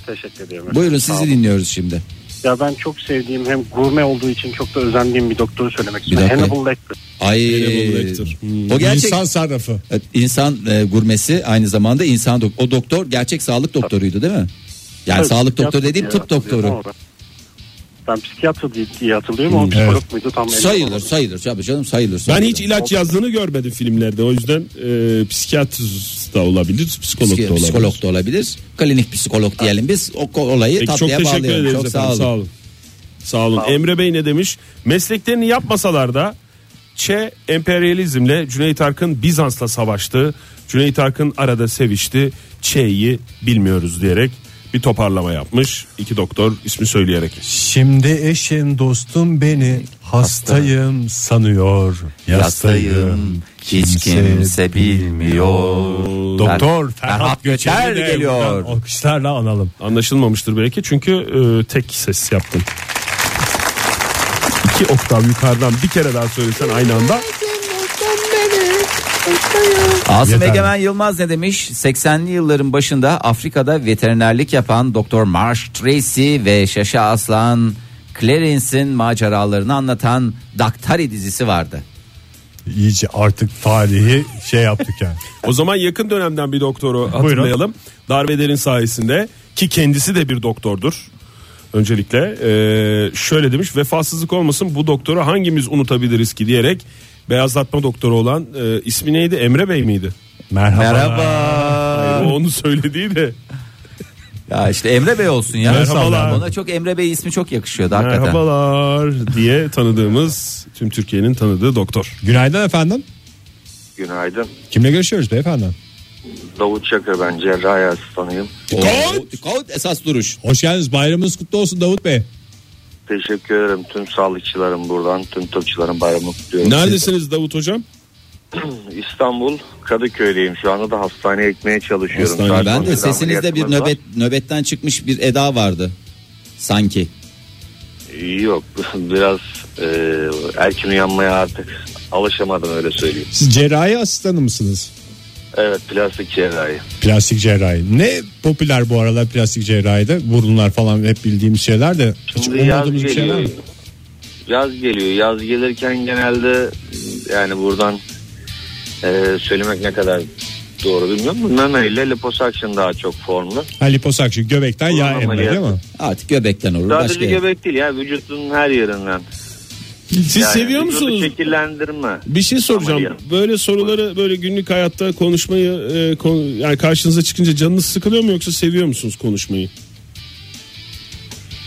S1: Teşekkür ediyorum.
S3: Buyurun
S1: Sağ olun.
S3: sizi dinliyoruz şimdi.
S1: Ya ben çok sevdiğim hem gurme olduğu için çok da özendiğim bir doktoru söylemek istiyorum.
S3: dakika.
S1: Hannibal Lecter.
S3: Ay.
S4: Hannibal Lecter.
S3: O gerçek
S5: İnsan
S3: insan,
S5: sarrafı.
S3: e, gurmesi aynı zamanda insan dok- o doktor gerçek sağlık doktoruydu değil mi? Yani
S1: Tabii,
S3: sağlık
S1: psikiyatr
S3: doktoru dediğim
S1: diye
S3: tıp
S1: hatırlıyorum
S3: doktoru.
S1: ama Ben Ben psikiyatr diye- diye hatırlıyorum ama psikolog muydu tam emin
S3: Hmm, Sayılır
S1: olamadım.
S3: sayılır tabii canım sayılır.
S4: Ben
S3: sayılır.
S4: hiç ilaç yazdığını görmedim filmlerde. O yüzden e, psikiyatr da olabilir, psikolog da
S3: Psiki-
S4: olabilir.
S3: psikolog da olabilir. Klinik psikolog diyelim biz. O ko- olayı
S4: Peki, çok
S3: tatlıya
S4: teşekkür
S3: bağlayalım.
S4: ederiz
S3: Çok sağ
S4: efendim.
S3: olun.
S4: Sağ olun. Sağ olun. Emre Bey ne demiş? Mesleklerini yapmasalar da Ç emperyalizmle Cüneyt Arkın Bizans'la savaştı. Cüneyt Arkın arada sevişti. Ç'yi bilmiyoruz diyerek bir toparlama yapmış. İki doktor ismi söyleyerek.
S5: Şimdi eşim dostum beni hastayım sanıyor.
S3: Yastayım hiç kimse bilmiyor.
S5: Doktor
S3: Fer- Ferhat Göçer
S5: de
S3: geliyor.
S5: buradan Alkışlarla analım.
S4: Anlaşılmamıştır belki çünkü e, tek ses yaptım. İki oktav yukarıdan bir kere daha söylesen aynı anda.
S3: Asım
S5: Yeter.
S3: Egemen Yılmaz ne demiş? 80'li yılların başında Afrika'da veterinerlik yapan Doktor Marsh Tracy ve Şaşa Aslan Clarence'in maceralarını anlatan Daktari dizisi vardı.
S5: İyice artık tarihi şey yaptık yani.
S4: O zaman yakın dönemden bir doktoru hatırlayalım. Darveder'in sayesinde ki kendisi de bir doktordur. Öncelikle eee, şöyle demiş vefasızlık olmasın bu doktoru hangimiz unutabiliriz ki diyerek beyazlatma doktoru olan eee, ismi neydi Emre Bey miydi?
S5: Merhaba.
S3: Merhaba.
S4: Hayır, o onu söylediği de
S3: Ya işte Emre Bey olsun ya.
S4: Merhabalar.
S3: Ona çok Emre Bey ismi çok yakışıyordu hakikaten.
S4: Merhabalar diye tanıdığımız tüm Türkiye'nin tanıdığı doktor.
S5: Günaydın efendim.
S10: Günaydın.
S5: Kimle görüşüyoruz beyefendi?
S10: Davut Çakır ben cerrahi asistanıyım.
S3: Dikkat! Dikkat esas duruş.
S5: Hoş geldiniz. Bayramınız kutlu olsun Davut Bey.
S10: Teşekkür ederim tüm sağlıkçılarım buradan, tüm tıpçıların bayramı kutluyorum.
S4: Neredesiniz Davut hocam?
S10: İstanbul Kadıköy'deyim şu anda da hastaneye gitmeye çalışıyorum.
S4: Hastane.
S10: Saat
S3: Ben
S10: 11'de
S3: de sesinizde bir
S10: ameliyatımız var.
S3: nöbet nöbetten çıkmış bir eda vardı. Sanki.
S10: Yok biraz e, erken uyanmaya artık alışamadım öyle söyleyeyim.
S5: Siz cerrahi asistanı mısınız?
S10: Evet plastik cerrahi.
S5: Plastik cerrahi. Ne popüler bu aralar plastik cerrahide? Burunlar falan hep bildiğimiz şeyler de. Hiç
S10: Şimdi yaz
S5: ummadığımız bir şey şeyler
S10: geliyor.
S5: mi?
S10: Yaz geliyor. Yaz gelirken genelde yani buradan e, söylemek ne kadar doğru bilmiyorum. Meme ile liposuction daha çok formlu.
S5: Ha, liposakşın göbekten
S10: Burun
S5: yağ emre değil
S10: ameliyatı.
S5: mi?
S3: Artık göbekten olur
S10: Sadece
S3: başka yer.
S10: göbek değil ya vücudun her yerinden.
S4: Siz
S10: Yani
S4: seviyor
S10: vücudu
S4: musunuz?
S10: Şekillendirme.
S4: Bir şey soracağım.
S10: Ameliyat.
S4: Böyle soruları böyle günlük hayatta konuşmayı e, kon- yani karşınıza çıkınca canınız sıkılıyor mu yoksa seviyor musunuz konuşmayı?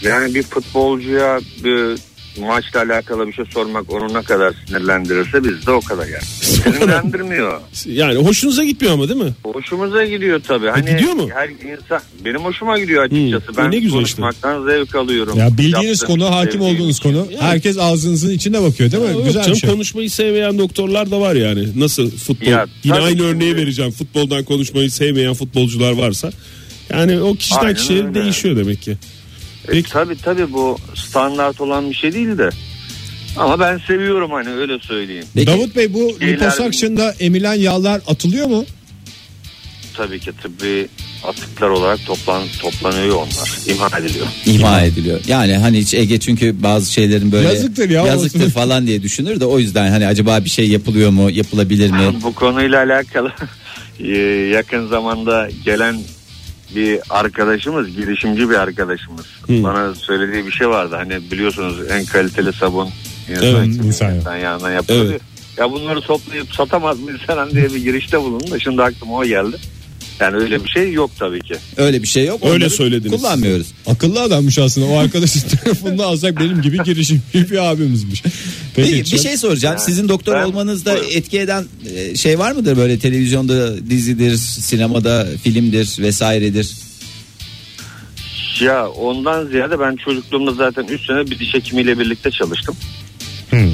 S10: Yani bir futbolcuya bir maçla alakalı bir şey sormak onu ne kadar sinirlendirirse biz de o kadar yani. Sinirlendirmiyor.
S4: Yani hoşunuza gitmiyor ama değil mi?
S10: Hoşumuza gidiyor tabii. Hani
S4: gidiyor mu?
S10: Her insan benim hoşuma gidiyor açıkçası.
S4: Hmm,
S10: Ben
S4: ne güzel işte.
S10: konuşmaktan zevk alıyorum.
S5: Ya bildiğiniz
S10: Yaptığım,
S5: konu, hakim
S10: sevdiğim
S5: olduğunuz
S10: şey.
S5: konu. Herkes ağzınızın içine bakıyor değil mi?
S4: Yok
S5: Güzel bir
S4: canım,
S5: şey.
S4: konuşmayı sevmeyen doktorlar da var yani. Nasıl futbol?
S10: Ya,
S4: Yine
S10: tabii
S4: aynı
S10: ki.
S4: örneği vereceğim. Futboldan konuşmayı sevmeyen futbolcular varsa. Yani o kişiden
S10: Aynen
S4: kişiye
S10: öyle.
S4: değişiyor demek ki.
S10: E, tabii tabii bu standart olan bir şey değil de. Ama ben seviyorum hani öyle söyleyeyim.
S3: Peki,
S5: Davut Bey bu
S10: Şeyler-
S5: liposakşında emilen yağlar atılıyor mu?
S10: Tabii ki tıbbi atıklar olarak toplan toplanıyor onlar. İmha ediliyor.
S3: İma ediliyor. Yani hani hiç Ege çünkü bazı şeylerin böyle
S5: Yazıktır ya.
S3: yazıktır falan diye düşünür de o yüzden hani acaba bir şey yapılıyor mu yapılabilir mi?
S10: Bu konuyla alakalı e, yakın zamanda gelen bir arkadaşımız, girişimci bir arkadaşımız. Bana söylediği bir şey vardı. Hani biliyorsunuz en kaliteli sabun insan,
S4: Evet,
S10: için,
S5: insan
S10: insan yağından yapılıyor.
S4: Evet.
S10: Ya bunları toplayıp satamaz mı insan diye bir girişte bulundu. Şimdi aklıma o geldi. Yani öyle bir şey yok tabii ki.
S3: Öyle bir şey yok.
S4: Öyle
S3: Onları
S4: söylediniz.
S3: Kullanmıyoruz.
S5: Akıllı adammış aslında. O arkadaşın telefonunu alsak benim gibi girişimci bir abimizmiş. Peki,
S3: Peki, bir
S5: çok-
S3: şey soracağım. Sizin doktor
S10: ben-
S3: olmanızda
S10: Buyurun.
S3: etki eden e, şey var mıdır böyle televizyonda dizidir, sinemada filmdir vesairedir?
S10: Ya ondan ziyade ben çocukluğumda zaten 3 sene bir diş hekimiyle birlikte çalıştım.
S4: Hmm.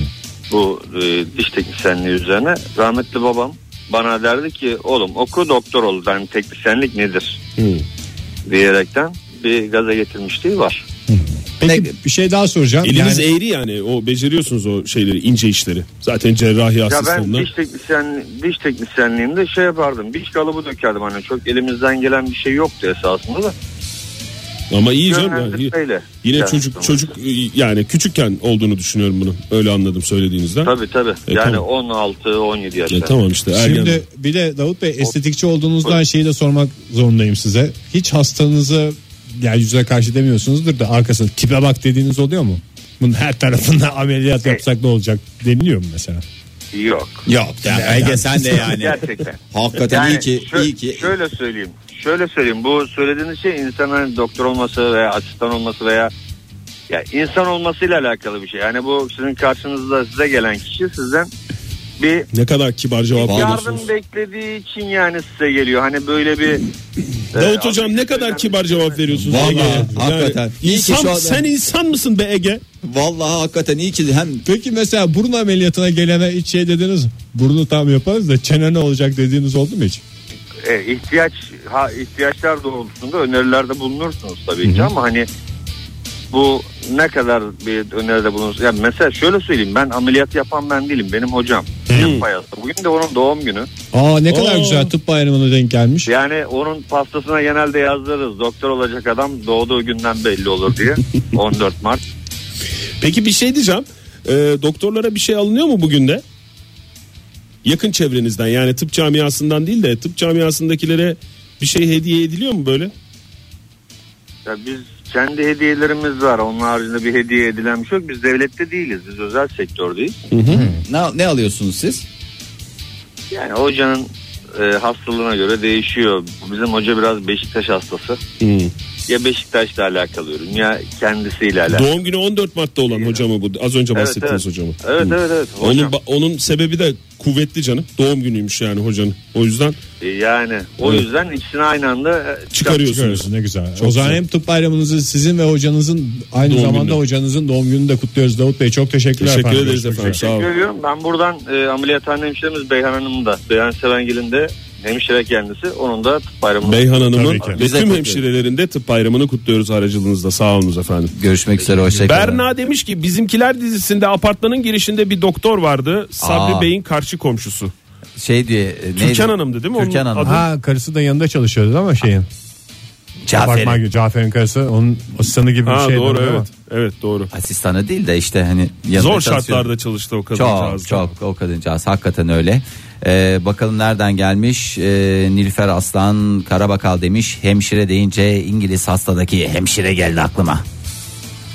S10: Bu e, diş teknisyenliği üzerine. Rahmetli babam bana derdi ki oğlum oku doktor ol. Yani teknisyenlik nedir?
S4: Hmm.
S10: Diyerekten bir gaza getirmişliği var.
S5: Peki bir şey daha soracağım.
S4: Eliniz
S5: Yani-
S4: eğri yani. O beceriyorsunuz o şeyleri, ince işleri. Zaten cerrahi
S10: Ya ben
S4: asistanlar.
S10: diş teknisyen diş teknisyenliğinde şey yapardım. Diş kalıbı dökerdim hani çok elimizden gelen bir şey yoktu esasında da.
S4: Ama iyi canım yani. iyi.
S10: Yönlendirmeyle.
S4: Yine
S10: Yani
S4: çocuk
S10: sonuçta.
S4: çocuk yani küçükken olduğunu düşünüyorum bunu. Öyle anladım söylediğinizden.
S10: Tabii tabii.
S4: E,
S10: yani
S4: tamam.
S10: 16-17 yaşlar.
S4: Ya tamam işte ergen.
S5: Şimdi bir de Davut Bey estetikçi olduğunuzdan şeyi de sormak zorundayım size. Hiç hastanızı yani yüzüne karşı demiyorsunuzdur da arkasında tipe bak dediğiniz oluyor mu? Bunun her tarafında ameliyat yapsak ne olacak deniliyor mu mesela?
S10: Yok.
S3: Yok. Ege sen de yani.
S10: Gerçekten.
S3: Hakikaten iyi ki
S10: şö-
S3: iyi ki
S10: Şöyle söyleyeyim. Şöyle söyleyeyim. Bu söylediğiniz şey insanın doktor olması veya asistan olması veya ya insan olmasıyla alakalı bir şey. Yani bu sizin karşınızda size gelen kişi sizden bir
S4: Ne kadar kibar cevap veriyorsunuz.
S10: yardım beklediği için yani size geliyor. Hani böyle bir
S4: Davut
S10: e,
S4: hocam ne kadar kibar cevap veriyorsunuz
S3: Vallahi,
S4: Ege'ye.
S3: hakikaten. İyi ki
S4: insan-
S3: şu anda-
S4: sen insan mısın be Ege?
S3: vallahi hakikaten iyi ki hem
S5: Peki mesela burun ameliyatına gelene hiç şey dediniz mi? burnu tam yaparız da çene ne olacak dediğiniz oldu mu hiç?
S10: e, ihtiyaç ha, ihtiyaçlar doğrultusunda önerilerde bulunursunuz tabii ki ama hani bu ne kadar bir öneride bulunursunuz. Yani mesela şöyle söyleyeyim ben ameliyat yapan ben değilim benim hocam. Tıp payası. Bugün de onun doğum günü.
S5: Aa ne kadar
S4: Oo.
S5: güzel tıp bayramına denk gelmiş.
S10: Yani onun pastasına genelde yazdırırız. Doktor olacak adam doğduğu günden belli olur diye. 14 Mart.
S4: Peki bir şey diyeceğim. Ee, doktorlara bir şey alınıyor mu bugün de? Yakın çevrenizden yani tıp camiasından değil de tıp camiasındakilere bir şey hediye ediliyor mu böyle?
S10: Ya biz kendi hediyelerimiz var. Onun haricinde bir hediye edilen bir şey yok. Biz devlette değiliz. Biz özel sektördeyiz.
S3: ne, ne alıyorsunuz siz?
S10: Yani hocanın e, hastalığına göre değişiyor. Bizim hoca biraz Beşiktaş hastası. ya Beşiktaş'la alakalı ürün ya kendisiyle alakalı.
S4: Doğum günü 14 Mart'ta olan hocamı bu. Az önce
S10: Evet,
S4: bahsettiniz
S10: evet.
S4: hocamı.
S10: Evet,
S4: Hı.
S10: evet, evet.
S4: Onun,
S10: Hocam.
S4: ba- onun sebebi de kuvvetli canım. Doğum günüymüş yani hocanın. O yüzden
S10: e, Yani o
S4: Evet.
S10: yüzden ikisini aynı anda e,
S4: çıkarıyorsunuz.
S5: Görüyorsun ne güzel.
S4: Çok
S5: o zaman
S4: güzel.
S5: hem tıp bayramınızı sizin ve hocanızın aynı
S4: Doğum
S5: zamanda
S4: günü.
S5: hocanızın doğum gününü de kutluyoruz Davut Bey. Çok teşekkürler
S4: Teşekkür
S5: efendim.
S4: ederiz
S5: Görüşmek
S4: efendim.
S5: üzere.
S4: Sağ olun.
S10: Görüyorum. Ben buradan e, ameliyathane hemşiremiz Beyhan Hanım'ın da Beyhan Sevengil'in de hemşire kendisi onun da tıp bayramı.
S4: Beyhan Hanım'ın
S5: Tabii ki.
S4: ve
S3: Bize
S4: tüm
S3: kutluyoruz.
S4: hemşirelerinde tıp bayramını kutluyoruz aracılığınızda. Sağ olunuz efendim.
S3: Görüşmek üzere hoşçakalın.
S4: Berna demiş ki bizimkiler dizisinde apartmanın girişinde bir doktor vardı. Sabri
S3: Aa.
S4: Bey'in karşı komşusu.
S3: Şey diye e, neydi?
S4: Türkan Hanım'dı değil mi?
S3: Türkan
S4: Onun
S3: Hanım.
S4: adı-
S5: Ha karısı da yanında çalışıyordu ama şeyin.
S3: Cafer'in.
S5: Apartman, Cafer'in karısı onun asistanı gibi bir
S4: Ha
S5: şey.
S4: doğru evet. Evet doğru.
S3: Asistanı değil de işte hani yanında
S4: Zor
S3: çalışıyor.
S4: şartlarda çalıştı o
S3: şey- Çok
S4: kadıncağız.
S3: çok o kadıncağız hakikaten öyle. Ee, bakalım nereden gelmiş ee, Nilüfer Aslan Karabakal demiş hemşire deyince İngiliz hastadaki hemşire geldi aklıma.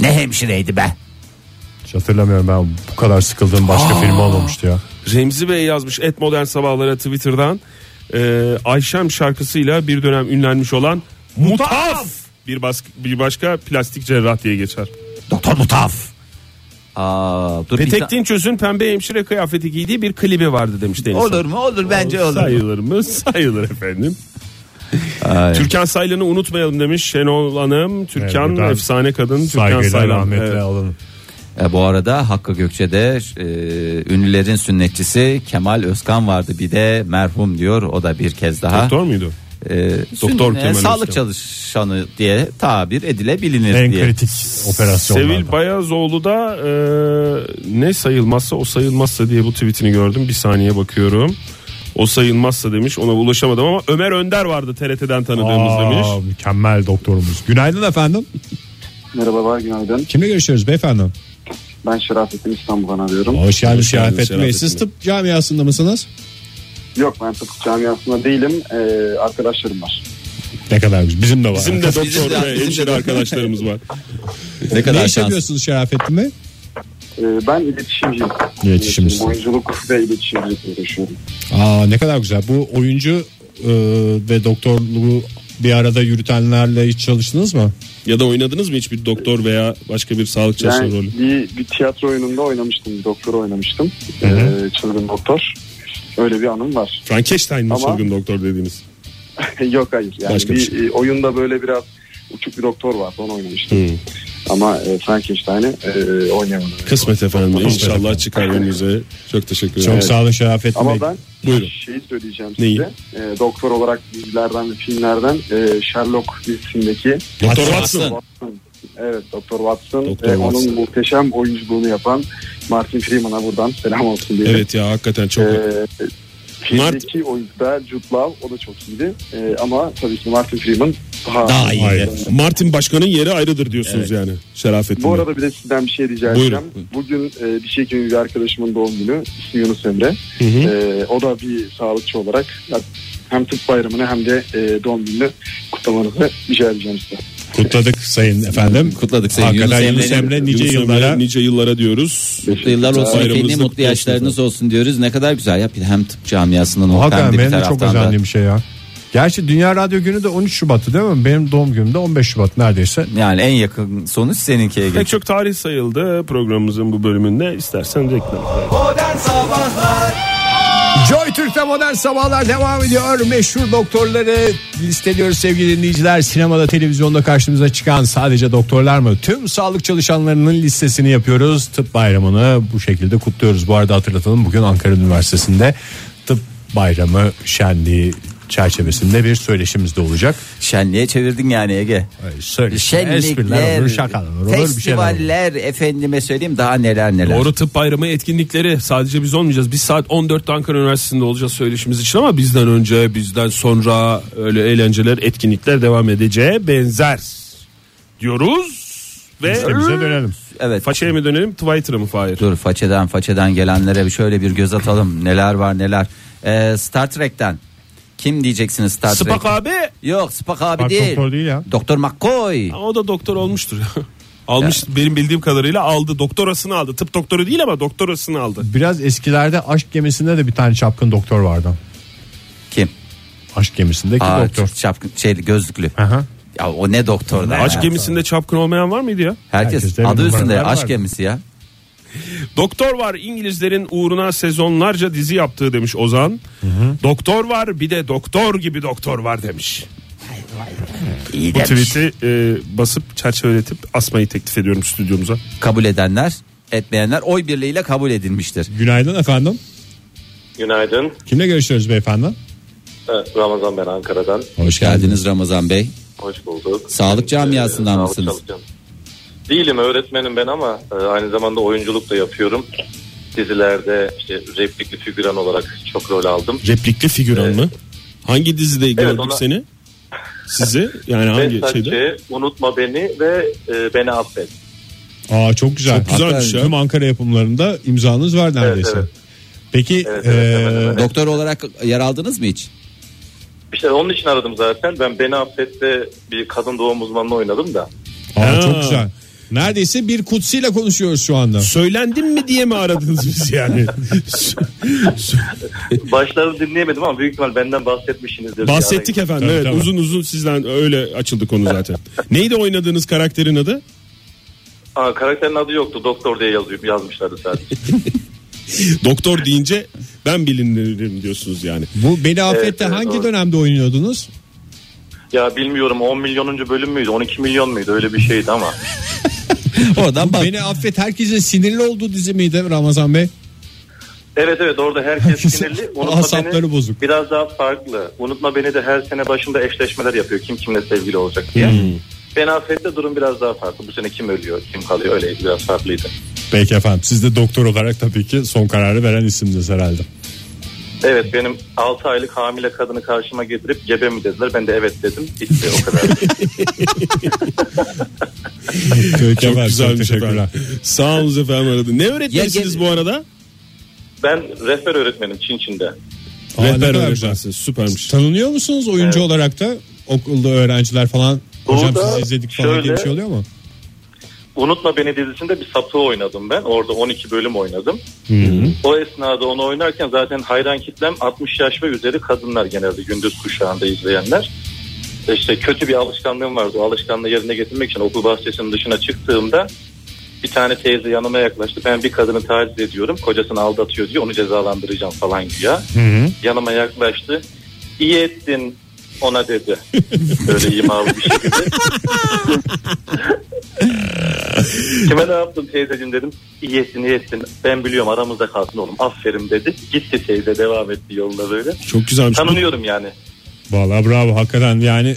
S3: Ne hemşireydi be?
S5: Hiç hatırlamıyorum ben bu kadar sıkıldığım başka film olmamıştı ya.
S4: Remzi Bey yazmış et modern sabahlara Twitter'dan e, Ayşem şarkısıyla bir dönem ünlenmiş olan Mutaf bir, bas- bir başka plastik cerrah diye geçer.
S3: Doktor Mutaf. Aa, dur bir ta-
S4: Petek Dinçöz'ün pembe hemşire kıyafeti giydiği bir klibi vardı demiş Deniz.
S3: Olur mu? Olur bence olur.
S4: Sayılır mı? Sayılır efendim.
S3: Ay.
S4: Türkan Saylan'ı unutmayalım demiş Şenol Hanım. Türkan
S5: Evet, buradan
S4: efsane kadın. Türkan
S5: Saygıyla
S4: Saylan.
S5: rahmetle
S4: Evet.
S5: alın.
S3: E, bu arada Hakkı Gökçe'de e, ünlülerin sünnetçisi Kemal Özkan vardı bir de merhum diyor o da bir kez daha.
S4: Doktor muydu?
S3: E,
S4: Doktor
S3: sünnet-
S4: Kemal
S3: sağlık
S4: Özkan.
S3: çalışanı diye tabir edilebilinir
S5: En
S3: diye.
S5: kritik operasyonlardan.
S4: Sevil Bayazoğlu da e, ne sayılmazsa o sayılmazsa diye bu tweetini gördüm. Bir saniye bakıyorum. O sayılmazsa demiş ona ulaşamadım ama Ömer Önder vardı TRT'den tanıdığımız
S5: Aa,
S4: demiş.
S5: Mükemmel doktorumuz. Günaydın efendim.
S1: Merhabalar günaydın.
S5: Kimle görüşüyoruz beyefendi?
S1: Ben Şerafettin İstanbul'dan arıyorum.
S5: Hoş geldiniz
S4: Hoş geldiniz
S5: Şerafettin Bey.
S4: Şerafettin
S5: Siz
S4: Bey.
S5: tıp camiasında mısınız?
S1: Yok ben tıp camiasında değilim. Ee, arkadaşlarım var.
S5: Ne kadar güzel. Bizim de var.
S4: Bizim de
S3: Bizim
S4: doktor
S3: de-
S4: ve
S3: bizim de-
S4: hemşire arkadaşlarımız var.
S3: Ne
S5: ne
S3: kadar
S5: iş
S3: şans.
S5: yapıyorsunuz Şerafettin Bey?
S1: Ee, ben iletişimciyim.
S5: İletişimcisin.
S1: Oyunculuk ve iletişimcilikle uğraşıyorum.
S5: Aa, ne kadar güzel. Bu oyuncu e, ve doktorluğu bir arada yürütenlerle hiç çalıştınız mı?
S4: Ya da oynadınız mı hiçbir doktor veya başka bir sağlık çalışanı
S1: Yani
S4: rolü?
S1: bir, bir tiyatro oyununda oynamıştım. bir Doktor oynamıştım. Ee, çılgın doktor. Öyle bir anım var.
S4: Frankenstein mi
S1: Ama-
S4: çılgın doktor dediğiniz?
S1: Yok hayır. Yani
S4: Başka bir
S1: bir,
S4: şey.
S1: e, oyunda böyle biraz uçuk bir doktor vardı. Onu oynamıştım. Ama e, Frankenstein'i e, oynayamadım.
S4: Kısmet efendim. İnşallah
S5: efendim.
S4: çıkar önünüze. Çok teşekkür
S5: Çok
S4: ederim.
S5: sağ olun Şerafettin
S1: Ama
S5: Bey.
S1: ben
S4: Buyurun.
S1: şeyi söyleyeceğim
S4: Neyi?
S1: size. Ee, doktor olarak dizilerden ve filmlerden e, Sherlock dizisindeki
S4: Doktor
S3: Watson.
S4: Watson.
S1: Watson. Evet Doktor Watson.
S4: Doktor
S1: ve onun
S4: Watson.
S1: muhteşem oyunculuğunu yapan Martin Freeman'a buradan selam olsun diye.
S4: Evet ya hakikaten çok.
S1: Ee, filmdeki oyuncu da Jude Law o da çok iyiydi. Ee, ama tabii ki Martin Freeman daha,
S3: Daha iyi.
S4: Hayır. Martin Başkan'ın yeri ayrıdır diyorsunuz yani. Şerafettin
S1: Bu
S4: Bey.
S1: arada bir de sizden bir şey rica
S4: Buyurun.
S1: edeceğim. Bugün e, bir şey gibi bir arkadaşımın doğum günü. İsmi Yunus Emre. E, o da bir sağlıkçı olarak ya, hem tıp bayramını hem de e, doğum gününü kutlamanızı rica edeceğim size.
S5: Kutladık sayın efendim.
S3: Kutladık sayın
S5: Hakikaten
S3: Yunus
S5: Yunus
S3: Emre'nin-
S5: Emre nice
S4: Yunus Emre,
S5: yıllara
S4: nice yıllara diyoruz.
S3: Mutlu yıllar olsun
S4: Bayramınız
S3: efendim,
S4: da
S3: mutlu
S4: kutlu
S3: yaşlarınız olsun diyoruz. Ne kadar güzel ya hem tıp camiasının o hem
S5: Hakikaten
S3: de bir
S5: benim de çok
S3: taraftan da.
S5: özendiğim bir şey ya. Gerçi Dünya Radyo Günü de 13 Şubat'tı değil mi? Benim doğum günüm de 15 Şubat neredeyse.
S3: Yani en yakın sonuç seninkiye
S4: Pek
S3: geçiyor.
S4: çok tarih sayıldı programımızın bu bölümünde. İstersen reklam.
S2: Joy Türk'te modern sabahlar devam ediyor. Meşhur doktorları listeliyoruz sevgili dinleyiciler. Sinemada, televizyonda karşımıza çıkan sadece doktorlar mı? Tüm sağlık çalışanlarının listesini yapıyoruz. Tıp bayramını bu şekilde kutluyoruz. Bu arada hatırlatalım bugün Ankara Üniversitesi'nde tıp bayramı şenliği çerçevesinde bir söyleşimiz de olacak. Ee,
S3: Şenliğe çevirdin yani Ege.
S5: Söyleşi, espriler
S3: Şenlikler,
S5: olur, şakalar olur, olur, bir şeyler olur.
S3: festivaller efendime söyleyeyim daha neler neler.
S4: Doğru tıp bayramı etkinlikleri sadece biz olmayacağız. Biz saat 14'te Ankara Üniversitesi'nde olacağız söyleşimiz için ama bizden önce bizden sonra öyle eğlenceler etkinlikler devam edeceğe benzer diyoruz. Ve
S5: Listemize dönelim.
S3: Evet.
S4: Façaya mı dönelim Twitter'a mı Fahir?
S3: Dur façeden façeden gelenlere bir şöyle bir göz atalım. Neler var neler. Ee, Star Trek'ten. Kim diyeceksiniz Star Trek?
S4: Spak abi
S3: Yok Spak abi
S5: Bak
S3: değil.
S5: doktor değil ya.
S3: Doktor McCoy.
S4: Ama o da doktor olmuştur. Almış benim bildiğim kadarıyla aldı. Doktorasını aldı. Tıp doktoru değil ama doktorasını aldı.
S5: Biraz eskilerde aşk gemisinde de bir tane çapkın doktor vardı.
S3: Kim?
S5: Aşk gemisindeki
S3: Aa,
S5: doktor.
S3: çapkın- şey, gözlüklü.
S5: Aha.
S3: Ya o ne doktor da. ya.
S4: Aşk gemisinde çapkın olmayan var mıydı ya?
S3: Herkes,
S5: Herkeste
S3: adı
S5: bir
S3: üstünde
S5: numaralar
S3: aşk
S5: var.
S3: gemisi ya.
S4: Doktor var İngilizlerin uğruna sezonlarca dizi yaptığı demiş Ozan. Doktor var bir de doktor gibi doktor var demiş.
S3: İyi
S4: Bu
S3: demiş.
S4: tweet'i e, basıp çerçeveletip asmayı teklif ediyorum stüdyomuza.
S3: Kabul edenler etmeyenler oy birliğiyle kabul edilmiştir.
S5: Günaydın efendim.
S11: Günaydın. E,
S5: Kimle görüşüyoruz beyefendi?
S11: Ramazan ben Ankara'dan.
S3: Hoş geldiniz Ramazan Bey.
S11: Hoş bulduk. E,
S3: Sağlık camiasından
S11: sağlık
S3: mısınız?
S11: çalışan- Değilim öğretmenim ben ama e, aynı zamanda oyunculuk da yapıyorum. Dizilerde işte replikli figüran olarak çok rol aldım.
S4: Replikli figüran
S11: Evet.
S4: mı? Hangi dizide gördük
S11: ona-
S4: seni? Sizi yani
S11: Ve
S4: hangi
S11: sadece
S10: şey-
S4: şeyde?
S11: unutma beni ve e, beni affet.
S5: Aa çok güzel.
S4: Çok güzelmiş
S5: Hatta
S4: ya.
S5: Tüm Ankara yapımlarında imzanız var neredeyse.
S11: evet.
S5: Peki
S11: Evet, evet,
S5: eee,
S11: hemen hemen.
S3: Doktor olarak yer aldınız mı hiç?
S11: İşte onun için aradım zaten. Ben beni affette bir kadın doğum uzmanını oynadım da.
S5: aa,
S4: Ha.
S5: çok güzel. Neredeyse bir kutsiyle konuşuyoruz şu anda.
S4: Söylendim mi diye mi aradınız biz yani?
S11: Başlarını dinleyemedim ama büyük ihtimal benden bahsetmişsinizdir.
S4: Bahsettik efendim.
S5: Tabii,
S4: evet,
S5: tabii.
S4: Uzun uzun sizden öyle açıldı konu zaten. Neydi oynadığınız karakterin adı?
S11: Aa, karakterin adı yoktu. Doktor diye yazıyor, yazmışlardı sadece.
S4: Doktor deyince ben bilinirim diyorsunuz yani.
S5: Bu Beni Affet'te
S11: evet,
S5: hangi
S11: doğru.
S5: dönemde oynuyordunuz?
S11: ya bilmiyorum 10 milyonuncu bölüm müydü 12 milyon muydu öyle bir şeydi ama.
S3: Oradan bak.
S5: Beni Affet herkesin sinirli olduğu dizi miydi Ramazan Bey?
S11: Evet evet orada herkes sinirli. Unutma
S5: Asapları
S11: beni
S5: bozuk.
S11: biraz daha farklı. Unutma beni de her sene başında eşleşmeler yapıyor. Kim kimle sevgili olacak diye. Ben affette durum biraz daha farklı. Bu sene kim ölüyor, kim kalıyor öyle biraz farklıydı.
S5: Peki efendim siz de doktor olarak tabii ki son kararı veren isimdiniz herhalde.
S11: Evet benim 6 aylık hamile kadını karşıma getirip gebe mi dediler. Ben de evet dedim. Bitti o kadar.
S5: Peki
S4: Çok
S5: efendim,
S4: güzelmiş
S5: teşekkürler.
S4: efendim. Sağ olunuz efendim aradı. Ne öğretmensiniz
S3: Ya gel-
S4: bu arada?
S11: ben rehber öğretmenim Çin Çin'de.
S5: Aa, ne
S4: Rehber
S5: kadar
S4: öğretmensiniz süpermiş.
S5: Tanınıyor musunuz oyuncu
S11: Evet.
S5: olarak da? Okulda öğrenciler falan hocam
S11: Burada
S5: sizi izledik falan diye bir
S11: şöyle-
S5: şey oluyor mu?
S11: Unutma Beni dizisinde bir sapığı oynadım ben. Orada 12 bölüm oynadım. O esnada onu oynarken zaten hayran kitlem 60 yaş ve üzeri kadınlar genelde gündüz kuşağında izleyenler. E İşte kötü bir alışkanlığım vardı. O alışkanlığı yerine getirmek için okul bahçesinin dışına çıktığımda bir tane teyze yanıma yaklaştı. Ben bir kadını taciz ediyorum. Kocasını aldatıyor diye onu cezalandıracağım falan güya. Yanıma yaklaştı. İyi ettin ona dedi. Böyle imalı bir şekilde. Kime ne yaptın teyzeciğim dedim. İyi ettin iyi ettin. Ben biliyorum aramızda kalsın oğlum. Aferin dedi. Gitti teyze devam etti yoluna böyle.
S4: Çok güzelmiş.
S11: Tanınıyorum yani.
S5: Vallahi bravo hakikaten yani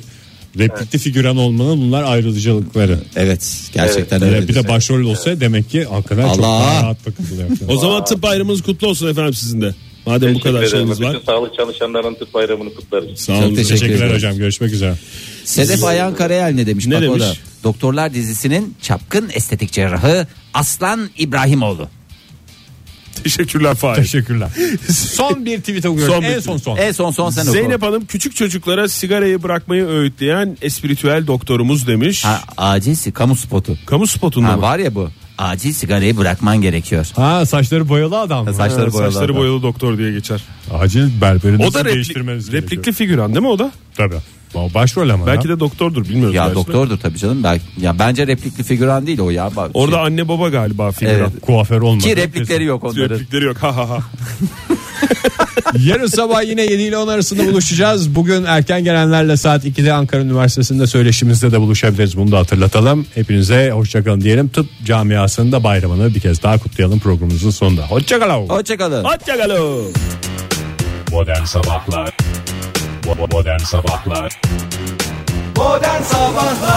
S5: replikli figüran olmanın bunlar ayrıcalıkları.
S3: Evet gerçekten
S5: Hele
S3: öyle.
S5: bir de başrol olsa demek ki hakikaten çok
S3: Allah!
S5: daha rahat bakılıyor.
S4: O zaman tıp bayramınız kutlu olsun efendim sizin de. Madem bu
S11: Teşekkür
S4: kadar
S11: ederim.
S4: şeyiniz var.
S11: Bütün sağlık çalışanların tıp bayramını kutlarız.
S4: Sağ olun.
S3: teşekkür
S5: Teşekkürler
S3: ederim.
S5: hocam görüşmek üzere.
S3: Sedef Ayhan Karayel ne demiş?
S4: Ne
S3: Bak o
S4: demiş?
S3: da. Doktorlar dizisinin çapkın estetik cerrahı Aslan İbrahimoğlu.
S4: Teşekkürler Fahir.
S5: Teşekkürler. son bir tweet okuyoruz.
S4: Son bir
S5: en
S4: tweet.
S5: son son.
S3: En son son sen oku.
S4: Zeynep Hanım küçük çocuklara sigarayı bırakmayı öğütleyen espritüel doktorumuz demiş.
S3: Ha, acil si- kamu spotu.
S4: Kamu spotunda
S3: Ha,
S4: mı?
S3: var ya bu. Acil sigarayı bırakman gerekiyor.
S5: Ha saçları boyalı adam.
S3: Saçları boyalı.
S4: Saçları boyalı doktor diye geçer.
S5: Acil berberinizi
S4: O da repli-
S5: değiştirmeniz
S4: replikli figüran değil mi o da?
S5: Tabii. Ba- Başrol ama
S4: Belki
S5: ya.
S4: de doktordur bilmiyoruz.
S3: Ya
S4: gerçi.
S3: doktordur tabii canım. Belki, ya bence replikli figüran değil o ya. Bak,
S4: Orada anne baba galiba figüran.
S3: Evet.
S5: kuaför olmadı.
S3: ki replikleri yok onların.
S4: Replikleri yok. Ha ha ha.
S5: Yarın sabah yine 7 ile 10 arasında buluşacağız. Bugün erken gelenlerle saat 2'de Ankara Üniversitesi'nde söyleşimizde de buluşabiliriz. Bunu da hatırlatalım. Hepinize hoşçakalın diyelim. Tıp camiasının da bayramını bir kez daha kutlayalım programımızın sonunda. Hoşçakalın.
S3: Hoşçakalın.
S4: Hoşçakalın.
S5: Modern Sabahlar Modern Sabahlar
S12: Modern Sabahlar